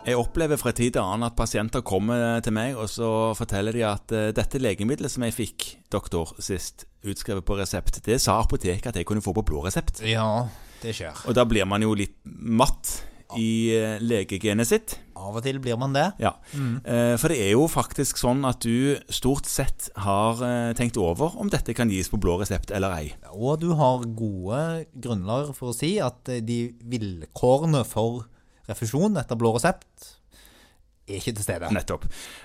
Jeg opplever fra tid til annen at pasienter kommer til meg, og så forteller de at eh, dette legemiddelet som jeg fikk, doktor, sist, utskrevet på resept, det sa apoteket at jeg kunne få på blå resept. Ja, det skjer. Og da blir man jo litt matt i eh, legegenet sitt. Av og til blir man det. Ja. Eh, For det er jo faktisk sånn at du stort sett har eh, tenkt over om dette kan gis på blå resept eller ei. Og du har gode grunnlag for å si at eh, de vilkårene for refusjon etter blå resept er ikke til stede. Nettopp.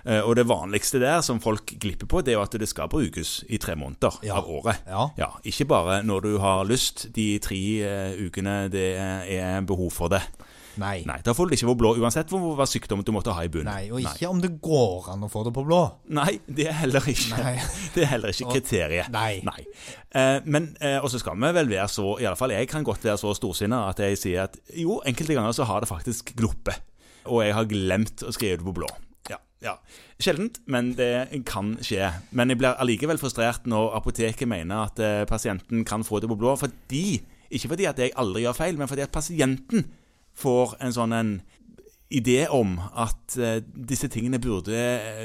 Eh, Og det vanligste der som folk glipper på, det er jo at det skal brukes i tre måneder Ja. av året. Ja. Ja, Ikke bare når du har lyst de tre eh, ukene det er behov for det. Nei. Nei. Nei, Da får du det ikke på blå uansett hvor, hva sykdom du måtte ha i bunnen. Og ikke om det går an å få det på blå. Nei, det er heller ikke, Nei. det er heller ikke kriteriet. Nei. Eh, men, eh, og så skal vi vel være så, i alle fall jeg kan godt være så storsinnet at jeg sier at jo, enkelte ganger så har det faktisk gloppet, og jeg har glemt å skrive det på blå. Ja, ja. Sjeldent, men det kan skje. Men jeg blir allikevel frustrert når apoteket mener at eh, pasienten kan få det på blå, fordi, ikke fordi at jeg aldri gjør feil, men fordi at pasienten får en sånn en idé om at eh, disse tingene burde,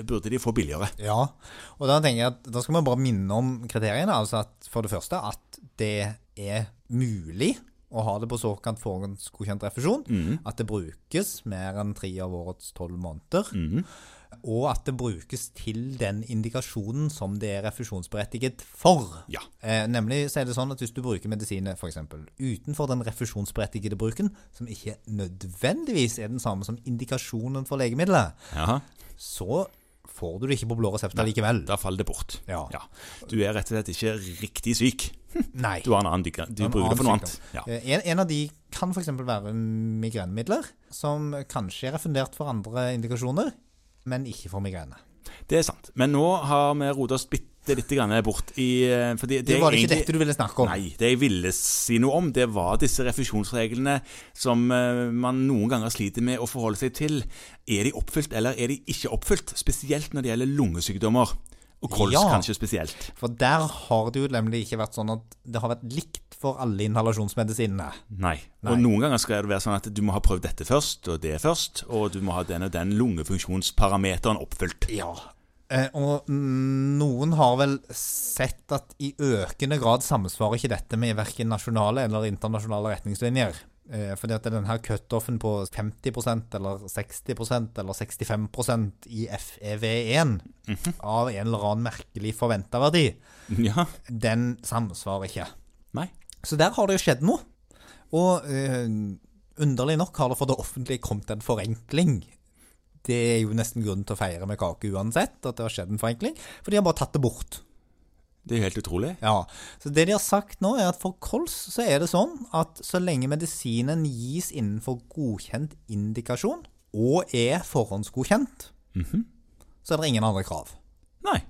burde de få billigere. Ja. Og da tenker jeg at da skal vi bare minne om kriteriene. Altså at for det første at det er mulig å ha det på såkalt forhåndsgodkjent refusjon. At det brukes mer enn tre av årets tolv måneder. Og at det brukes til den indikasjonen som det er refusjonsberettiget for. Ja. Eh, nemlig så er det sånn at hvis du bruker medisiner for eksempel, utenfor den refusjonsberettigede bruken, som ikke nødvendigvis er den samme som indikasjonen for legemiddelet, Jaha. så får du det ikke på blå resept allikevel. Da faller det bort. Ja. Du er rett og slett ikke riktig syk. Nei. Du har en annen dykke. Du En bruker det for noe annen annet. sykdom. Ja. Eh, En, en av de kan f.eks. være migrenemidler, som kanskje er refundert for andre indikasjoner, men ikke for migrene. Det er sant. Men nå har vi rotet oss bitte litt grann bort i eh, fordi Det var jeg ikke egentlig- dette du ville snakke om. Nei, det jeg ville si noe om, det var disse refusjonsreglene som eh, man noen ganger sliter med å forholde seg til. Er de oppfylt, eller er de ikke oppfylt? Spesielt når det gjelder lungesykdommer. Og kols Ja. kanskje spesielt. For der har det jo nemlig ikke vært sånn at det har vært likt for alle inhalasjonsmedisinene. Nei. Og noen ganger skal det være sånn at du må ha prøvd dette først, og det først, og du må ha den og den lungefunksjonsparameteren oppfylt. Ja. Eh, og mm, noen har vel sett at i økende grad samsvarer ikke dette med verken nasjonale eller internasjonale retningslinjer. Eh, fordi at denne her cutoffen på 50 eller 60 eller 65 i FEV1 av en eller annen merkelig forventa verdi, Ja. den samsvarer ikke. Nei. Så der har det jo skjedd noe. Og eh, underlig nok har det for det offentlige kommet en forenkling. Det er jo nesten grunnen til å feire med kake uansett, at det har skjedd en forenkling. For de har bare tatt det bort. Det er jo helt utrolig. Ja, Så det de har sagt nå, er at for kols så er det sånn at så lenge medisinen gis innenfor godkjent indikasjon, og er forhåndsgodkjent, så er det ingen andre krav. Nei.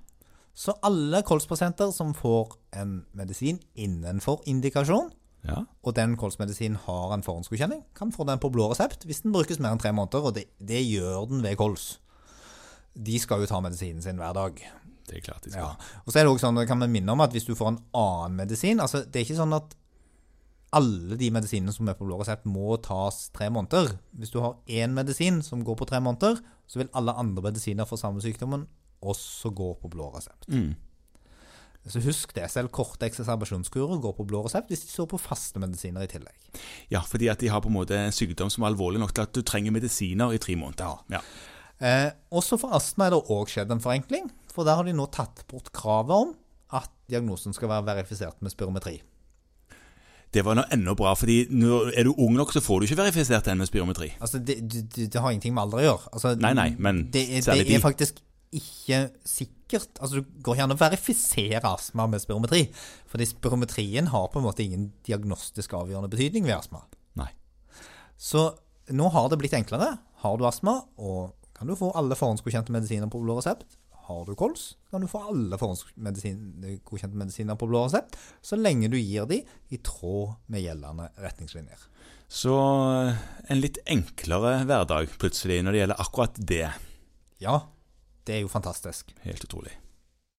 Så alle kolspasienter som får en medisin innenfor indikasjon, Ja. og den kolsmedisinen har en forhåndsgodkjenning, kan få den på blå resept hvis den brukes mer enn tre måneder, og det, det gjør den ved kols. De skal jo ta medisinen sin hver dag. Det er klart de skal. Ja. Og så er det også sånn, det kan vi minne om at hvis du får en annen medisin, altså det er ikke sånn at alle de medisinene som er på blå resept må tas tre måneder. Hvis du har én medisin som går på tre måneder, så vil alle andre medisiner for samme sykdommen også gå på blå resept. Så husk det, selv korte eksacerbasjonskurer går på blå resept hvis de står på faste medisiner i tillegg. Ja. fordi at de har på en måte en sykdom som er alvorlig nok til at du trenger medisiner i tre måneder. Ja. Eh, også for astma er det òg skjedd en forenkling. For der har de nå tatt bort kravet om at diagnosen skal være verifisert med spirometri. Det var nå enda bra, fordi når er du ung nok, så får du ikke verifisert den med spirometri. Altså, det, det, det- det har ingenting med alder å gjøre. Altså, Nei, nei, men det, er- særlig det de. er faktisk ikke sikkert. Altså, du går ikke an å verifisere astma med spirometri. Fordi spirometrien har på en måte ingen diagnostisk avgjørende betydning ved astma. Nei. Så nå har det blitt enklere. Har du astma, og kan du få alle forhåndsgodkjente medisiner på blå resept. Har du kols, kan du få alle forhåndsgodkjente medisiner på blå resept, så lenge du gir de i tråd med gjeldende retningslinjer. Så eh, en litt enklere hverdag plutselig når det gjelder akkurat det. Ja, det er jo fantastisk. Helt utrolig.